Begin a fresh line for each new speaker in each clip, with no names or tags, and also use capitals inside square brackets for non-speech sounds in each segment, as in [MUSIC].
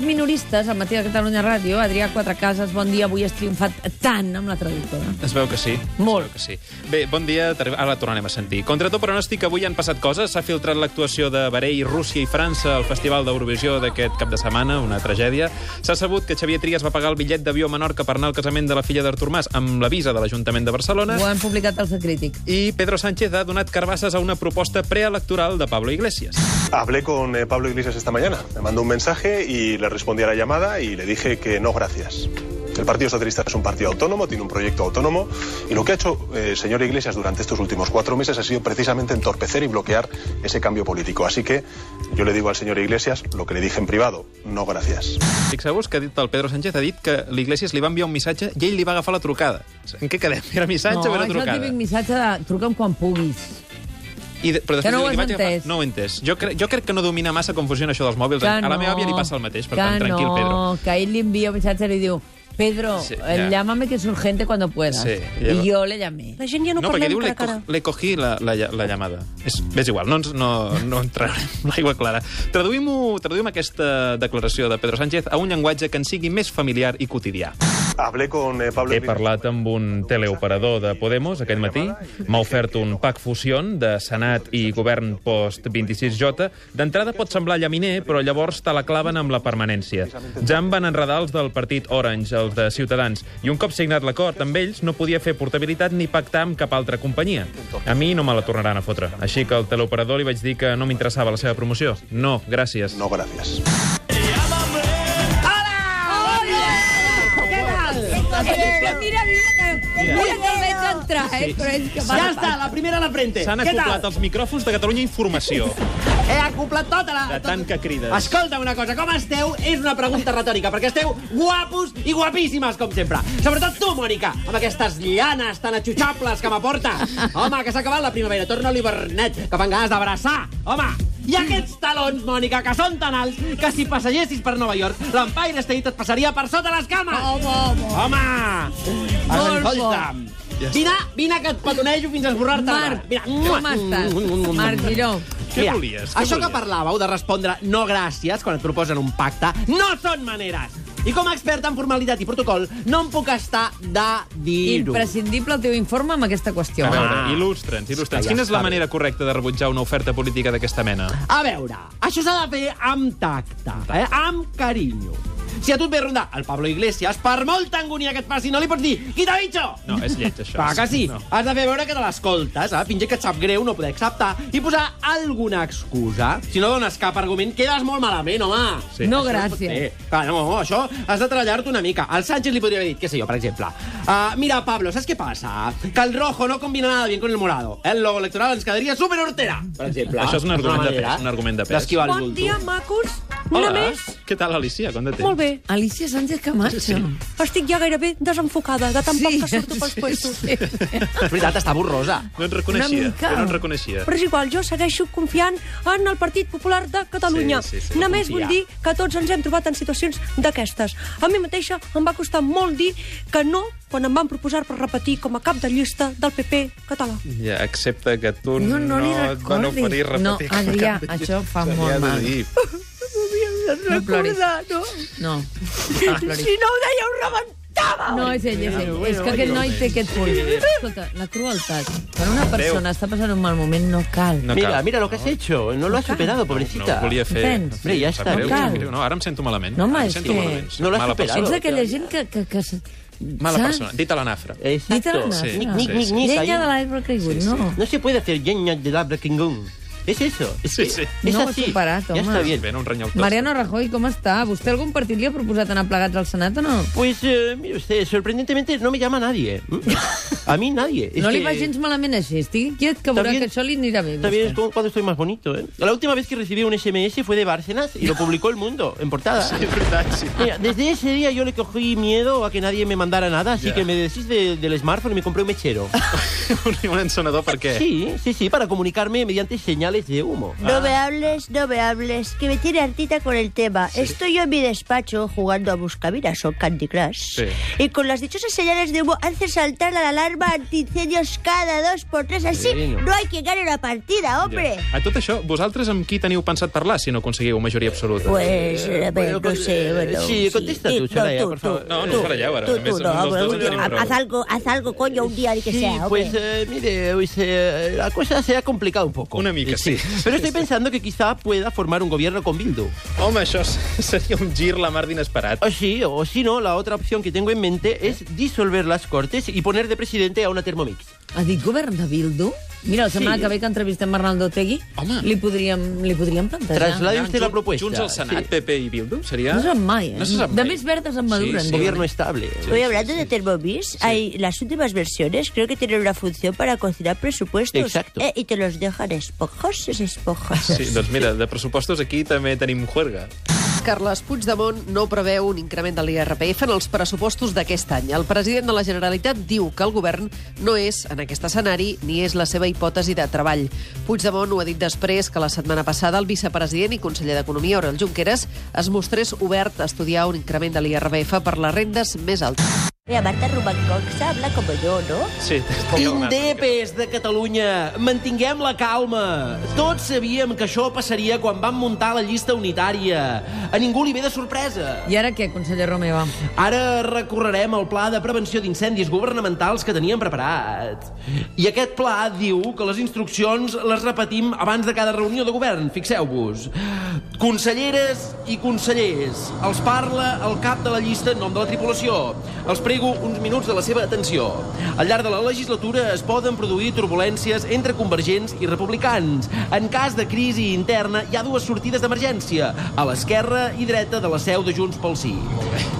minoristes al matí de Catalunya Ràdio. Adrià Quatrecases, bon dia. Avui has triomfat tant amb la traductora.
Es veu que sí.
Molt.
Es veu que sí. Bé, bon dia, t'arri- ara la tornarem a sentir. Contra tot pronòstic, avui han passat coses. S'ha filtrat l'actuació de Bahreï, Rússia i França al Festival d'Eurovisió d'aquest cap de setmana, una tragèdia. S'ha sabut que Xavier Trias va pagar el bitllet d'avió a Menorca per anar al casament de la filla d'Artur Mas amb la visa de l'Ajuntament de Barcelona.
Ho han publicat al Crític.
I Pedro Sánchez ha donat carbasses a una proposta preelectoral de Pablo Iglesias.
Hablé con eh, Pablo Iglesias esta mañana. Me mandó un mensaje y le respondí a la llamada y le dije que no, gracias. El Partido Socialista es un partido autónomo, tiene un proyecto autónomo y lo que ha hecho eh, señor Iglesias durante estos últimos cuatro meses ha sido precisamente entorpecer y bloquear ese cambio político. Así que yo le digo al señor Iglesias lo que le dije en privado, no, gracias.
Fixeu-vos que ha dit el Pedro Sánchez ha dit que l'Iglesias li va enviar un missatge i ell li va agafar la trucada. En què quedem? Era missatge o
no,
era
és el
trucada?
típic missatje de truca'm quan puguis.
I de, però
Que no
després
ho
li
has
vaig agafar-
entès.
No ho he entès. Jo, cre jo crec que no domina massa com funciona això dels mòbils.
Que
a la
no,
meva àvia li passa el mateix, per
que
tant, tranquil,
no,
Pedro.
Que ell li envia un missatge i li diu Pedro, sí,
Sí, ja.
llámame que es urgente cuando puedas.
Sí, ja.
I jo le llamé.
La gent ja no,
no
parla
perquè diu
amb
le,
la cara.
co le cogí la, la, lla- la llamada. És, és igual, no, ens, no, no entrarem l'aigua clara. Traduïm, traduïm aquesta declaració de Pedro Sánchez a un llenguatge que ens sigui més familiar i cotidià.
Hablé con eh, Pablo
He
Iglesias-
parlat amb un teleoperador de Podemos aquest matí. M'ha ofert un pack fusion de Senat i govern post-26J. D'entrada pot semblar llaminer, però llavors te la claven amb la permanència. Ja em van enredar els del partit Orange, els de Ciutadans, i un cop signat l'acord amb ells no podia fer portabilitat ni pactar amb cap altra companyia. A mi no me la tornaran a fotre. Així que al teleoperador li vaig dir que no m'interessava la seva promoció. No, gràcies.
No, gracias.
Què tal? Mira, mira, mira, mira que el veig entrar, eh? Però és que va...
Ya está, la primera a la frente.
S'han
Què
acoplat
tal?
els micròfons de Catalunya Informació,
He acoplat tota la...
de tant que crides.
Escolta una cosa, com esteu? És una pregunta retòrica, perquè esteu guapos i guapíssimes, com sempre. Sobretot tu, Mònica, amb aquestes llanes tan aixutxables que m'aporta. Home, que s'ha acabat la primavera, torna l'hivernet, que fan ganes d'abraçar. Home, i aquests talons, Mònica, que són tan alts que si passegessis per Nova York, l'Empire State et passaria per sota les cames.
Home, home.
Home!
Molt
Escolta'm.
Ja està.
Vine, vine que et petonejo fins a esborrar-te. la cara.
Marc,
Mira,
com estàs? Marc Giró.
Què volies? Què
això
volies?
que parlàveu de respondre no gràcies quan et proposen un pacte, no són maneres. I com a expert en formalitat i protocol, no em puc estar de dir-ho.
Imprescindible el teu informe amb aquesta qüestió.
A veure,
Ah.
il·lustra'ns, il·lustra'ns.
Ja
Quina és la
està bé.
manera correcta de rebutjar una oferta política d'aquesta mena?
A veure, això s'ha de fer amb tacte, eh? amb carinyo. Si a tu et ve a rondar el Pablo Iglesias, per molta angúnia que et passi, no li pots dir «Quita bitxo!»
No, és lleig, això.
Clar que sí.
No.
No. Has de fer veure que te l'escoltes, eh? fingir que et sap greu no poder acceptar i posar alguna excusa. Si no dones cap argument, quedes molt malament, home.
Sí.
No,
Això es pot
gràcies.
fer. Clar, Ah, no, això has de treballar-te una mica. Al Sánchez li podria haver dit, què sé jo, per exemple. Uh, mira, Pablo, ¿sabes qué pasa? Que el rojo no combina nada bien con el morado. El logo electoral ens quedaria superhortera, per exemple.
Això és un argument
Una
de pes,
manera
un argument de pes.
d'esquivar el
Bon
bulto.
dia, macos. Una
Hola.
més.
Què tal, Alicia? Quant de temps?
Molt bé.
Alicia Sánchez Camacho. Sí.
Estic ja gairebé desenfocada, de tan poc que surto
[LAUGHS]
pels puestos.
És veritat, està borrosa.
No et reconeixia.
Una mica.
Jo no et reconeixia.
Però és igual, jo segueixo confiant en el Partit Popular de Catalunya.
Sí, sí, sí,
Només
confiar.
vull dir que tots ens hem trobat en situacions d'aquestes. A mi mateixa em va costar molt dir que no quan em van proposar per repetir com a cap de llista del PP català.
Ja, accepta que tu
No,
no,
no li
et van
recordis.
oferir
No,
repetir. [LAUGHS]
Adrià,
cap de-
això fa
Se li
molt
ha de
mal.
dir.
No ploris.
no?
No, no ploris.
Si no ho deia, ho rebentava!
No, és ell, és ell. és que aquest noi té aquest punt. Escolta, la crueltat. Quan una persona està passant un mal moment, no cal.
No
mira,
cal.
mira lo que has hecho. No lo has superado,
No
pobrecita.
ho volia fer.
Tens.
Bé, ja
Em sap
està.
greu,
No
em sap
cal.
greu. No, ara em sento malament.
No, home,
Ara em
és
sento
que-
malament.
No l'has
Mala
superat.
persona.
Ets d'aquella gent que... que, que se-
Mala
saps?
persona. Dit a la nafra.
Eh,
Literal,
Exacto.
Sí,
Nic,
no.
nic, nic, nic, ahí.
Llenya de l'arbre caigut, no.
No se puede hacer llenya de labra kingón. Es eso. Es
Sí,
que-
sí.
Es
No ho he
así.
superat,
Ya
home.
está bien.
Ven, un renyau tot.
Mariano Rajoy, com està? Vostè algun partit li ha proposat anar plegats al Senat o no?
Pues, eh, mire usted, sorprendentemente no me llama nadie.
[LAUGHS]
¿m? A mí nadie. Es
No li
que-
va gens malament així. Estigui quiet, que veurà
També-
que això li anirà bé.
Está bien, es
vostè.
como cuando estoy más bonito, ¿eh? La última vez que recibí un SMS fue de Bárcenas y lo publicó El Mundo, en portada.
És veritat, sí. [LAUGHS]
Mira, desde ese día yo le cogí miedo a que nadie me mandara nada, así
Ya.
que me deshice de- del smartphone y me compré un mechero.
Un- Un encenedor, per què?
Sí, sí, sí, para comunicarme mediante señales de humo.
No me hables, no me hables, que me tiene hartita con el tema. Estoy yo en mi despacho jugando a Buscavinas o Candy Crush.
Sí.
Y con las dichosas señales de humo hace saltar la alarma arma antiincendios cada dos por tres. Así
Bueno.
no hay quien gane la partida, hombre.
A tot això, vosaltres amb qui teniu pensat parlar si no aconseguiu majoria absoluta?
Pues, a ver, no sé, bueno...
sí, contesta tú, Soraya, por favor.
No, no
tú,
us baralleu ara,
Tú,
només
tú, no,
amb els
bueno,
dos en
bueno,
tenim prou.
haz algo, haz algo, coño, un día de que
Sí,
sea, hombre.
pues eh, mire, hoy se- la cosa se ha complicado un poco. Eh,
Una mica, sí.
Pero estoy pensando que quizá pueda formar un gobierno con Bildu.
Home, això [LAUGHS] seria un gir la mar d'inesperat.
O Ah, sí, o si no, la otra opción que tengo en mente es disolver las cortes y poner de presidente a una Thermomix.
Ha dit govern de Bildu? Mira, la setmana
Sí.
que ve que entrevistem Arnaldo Tegui,
Home.
li podríem, li podríem plantejar.
Traslade
Anar
usted la
jun-
propuesta.
Junts al Senat,
Sí.
PP i Bildu, seria...
No se sap mai, eh?
No se sap
De
mai.
més verdes en maduren,
Sí, sí.
diuen.
Gobierno estable.
Hoy hablando de Thermomix, hay las últimas versiones creo que tienen una función para cocinar presupuestos.
Exacto.
Eh, y te los dejan esponjosos, esponjosos.
Sí, doncs mira, de pressupostos aquí també tenim juerga.
Carles Puigdemont no preveu un increment de l'IRPF en els pressupostos d'aquest any. El president de la Generalitat diu que el govern no és en aquest escenari ni és la seva hipòtesi de treball. Puigdemont ho ha dit després que la setmana passada el vicepresident i conseller d'Economia, Oriol Junqueras, es mostrés obert a estudiar un increment de l'IRPF per les rendes més altes.
Mira, Marta Rubancoxa habla como yo, ¿no?
Sí,
Indepes de Catalunya, mantinguem la calma. Tots sabíem que això passaria quan vam muntar la llista unitària. A ningú li ve de sorpresa.
I ara què, conseller Romeva?
Ara recorrerem al pla de prevenció d'incendis governamentals que teníem preparat. I aquest pla diu que les instruccions les repetim abans de cada reunió de govern, fixeu-vos. Conselleres i consellers, els parla el cap de la llista en nom de la tripulació. Els prego uns minuts de la seva atenció. Al llarg de la legislatura es poden produir turbulències entre convergents i republicans. En cas de crisi interna hi ha dues sortides d'emergència, a l'esquerra i dreta de la seu de Junts pel Sí.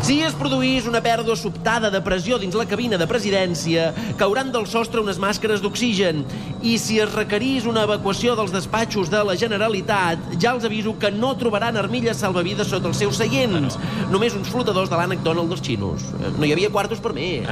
Si es produís una pèrdua sobtada de pressió dins la cabina de presidència, cauran del sostre unes màscares d'oxigen. I si es requerís una evacuació dels despatxos de la Generalitat, ja els aviso que no trobaran armilles salvavides sota els seus seients. Només uns flotadors de l'ànec Donald dels xinos. Eh, No hi havia quartos per més.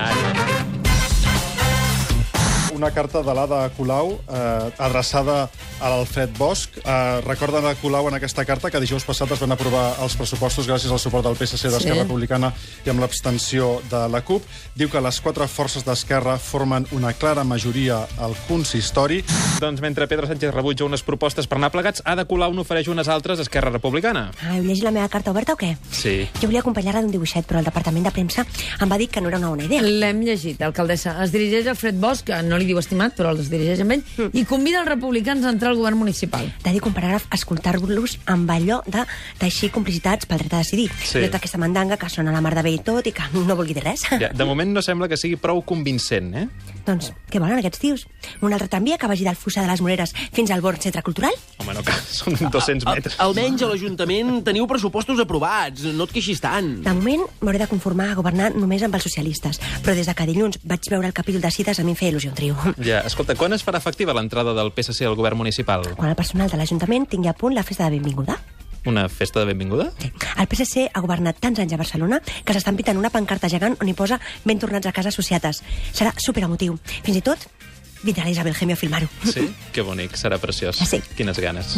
Una carta de l'Ada Colau eh, adreçada a l'Alfred Bosch. Eh, recorda de Colau en aquesta carta que dijous passat es van aprovar els pressupostos gràcies al suport del PSC d'Esquerra
Sí.
Republicana i amb l'abstenció de la CUP. Diu que les quatre forces d'Esquerra formen una clara majoria al consistori.
Doncs mentre Pedro Sánchez rebutja unes propostes per anar plegats, Ada Colau n'ofereix unes altres a Esquerra Republicana.
Ah, heu llegit la meva carta oberta o què?
Sí.
Jo volia acompanyar-la d'un dibuixet, però el departament de premsa em va dir que no era una bona idea.
L'hem llegit, alcaldessa. Es dirigeix a Fred Bosch, que no li diu estimat, però els dirigeix amb ell, i convida els republicans a entrar al govern municipal.
de dir que un paràgraf escoltar-los amb allò de teixir complicitats pel dret a decidir.
Sí.
I tota aquesta mandanga que sona la mar de bé i tot i que no vulgui dir res.
Ja, de moment no sembla que sigui prou convincent, eh?
[LAUGHS] Doncs què volen aquests tios? Un altre tramvia que vagi del Fossar de les Moreres fins al Born Centre Cultural?
Home, no cal, [LAUGHS] són 200 metres.
Almenys a l'Ajuntament teniu pressupostos aprovats, no et queixis tant.
De moment m'hauré de conformar a governar només amb els socialistes, però des de que dilluns vaig veure el capítol de cites a mi em feia il·lusió un trio.
Ja, escolta, quan es farà efectiva l'entrada del PSC al govern municipal?
Quan el personal de l'Ajuntament tingui a punt la festa de benvinguda.
Una festa de benvinguda?
El PSC ha governat tants anys a Barcelona que s'estan pintant una pancarta gegant on hi posa ben tornats a casa associates. Serà superemotiu. Fins i tot vindrà l'Isabel Gemio a filmar-ho.
Sí? Que bonic, serà preciós.
Sí.
Quines ganes.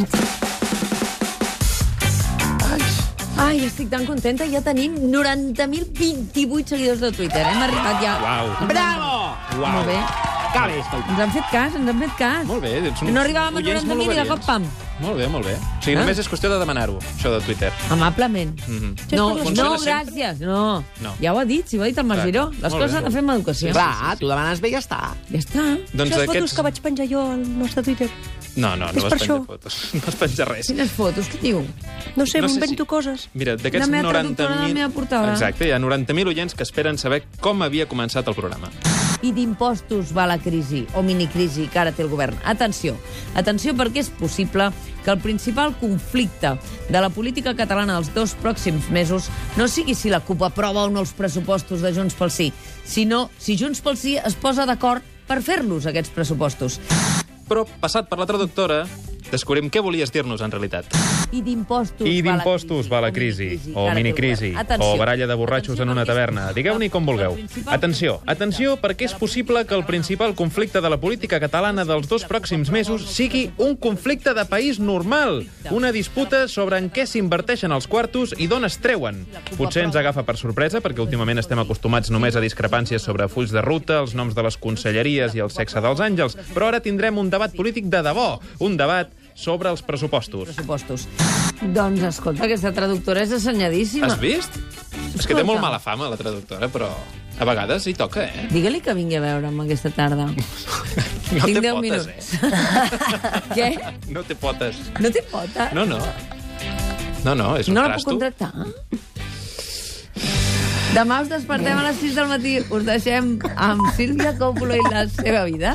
Ai, estic tan contenta. Ja tenim 90.028 seguidors de Twitter. Hem arribat ja. Doncs
Uau. eh,
Bravo!
Molt bé.
Acabes, escolta.
Ens han fet cas, ens han fet cas.
Molt bé. Ets
No arribàvem a
oients
90.000 i de
molt
cop, pam.
obedients. Molt bé, molt bé. O sigui,
Ah.
només és qüestió de demanar-ho, això de Twitter.
Amablement.
Mhm.
No,
Funciona
no,
sempre?
gràcies. No.
No.
Ja ho ha dit, si ho ha dit el Marc
Clar.
Giró. Les
Molt
coses
bé,
s'han de
molt
fer amb educació.
Clar, tu demanes bé i ja està.
Ja està.
Doncs
les
aquests...
fotos que vaig penjar jo al nostre Twitter.
No, no, no
És
vas
per
penjar
això.
fotos. [LAUGHS] No vas penjar res.
Quines fotos, què diu?
No
No
sé, no
sé
m'invento
si-
si... coses.
Mira, d'aquests
La meva
90.000...
traductora, la meva portadora.
Exacte, hi ha 90.000 oients que esperen saber com havia començat el programa.
I d'impostos va la crisi, o minicrisi, que ara té el govern. Atenció, atenció perquè és possible que el principal conflicte de la política catalana dels dos pròxims mesos no sigui si la CUP aprova o no els pressupostos de Junts pel Sí, sinó si Junts pel Sí es posa d'acord per fer-los aquests pressupostos.
Però, passat per la traductora,
Descobrim què volies dir-nos, en realitat.
I d'impostos
I
va la
d'impostos
crisi,
va la
o
crisi,
minicrisi,
o
cara té el
minicrisi,
govern.
o
Atenció.
baralla de borratxos
Atenció,
en una
perquè és
taverna.
possible
Digueu-n'hi com
que el
vulgueu.
principal
Atenció,
conflicte
atenció,
de la
perquè és
política
possible que el principal conflicte de la política catalana dels dos pròxims mesos sigui un conflicte de país normal, una disputa sobre en què s'inverteixen els quartos i d'on es treuen. Potser ens agafa per sorpresa, perquè últimament estem acostumats només a discrepàncies sobre fulls de ruta, els noms de les conselleries i el sexe dels àngels, però ara tindrem un debat polític de debò, un debat sobre els pressupostos.
pressupostos. Doncs, escolta, aquesta traductora és assenyadíssima.
Has vist? És que té molt mala fama, la traductora, però a vegades hi toca, eh?
Digue-li que vingui a veure'm aquesta tarda.
No
Tinc
té
10
potes,
minuts.
eh?
[LAUGHS] Què?
No té potes.
No té pota?
No, no. No, no, és un
no la puc
trasto.
contractar? Demà us despertem a les 6 del matí. Us deixem amb Sílvia Còpula i la seva vida.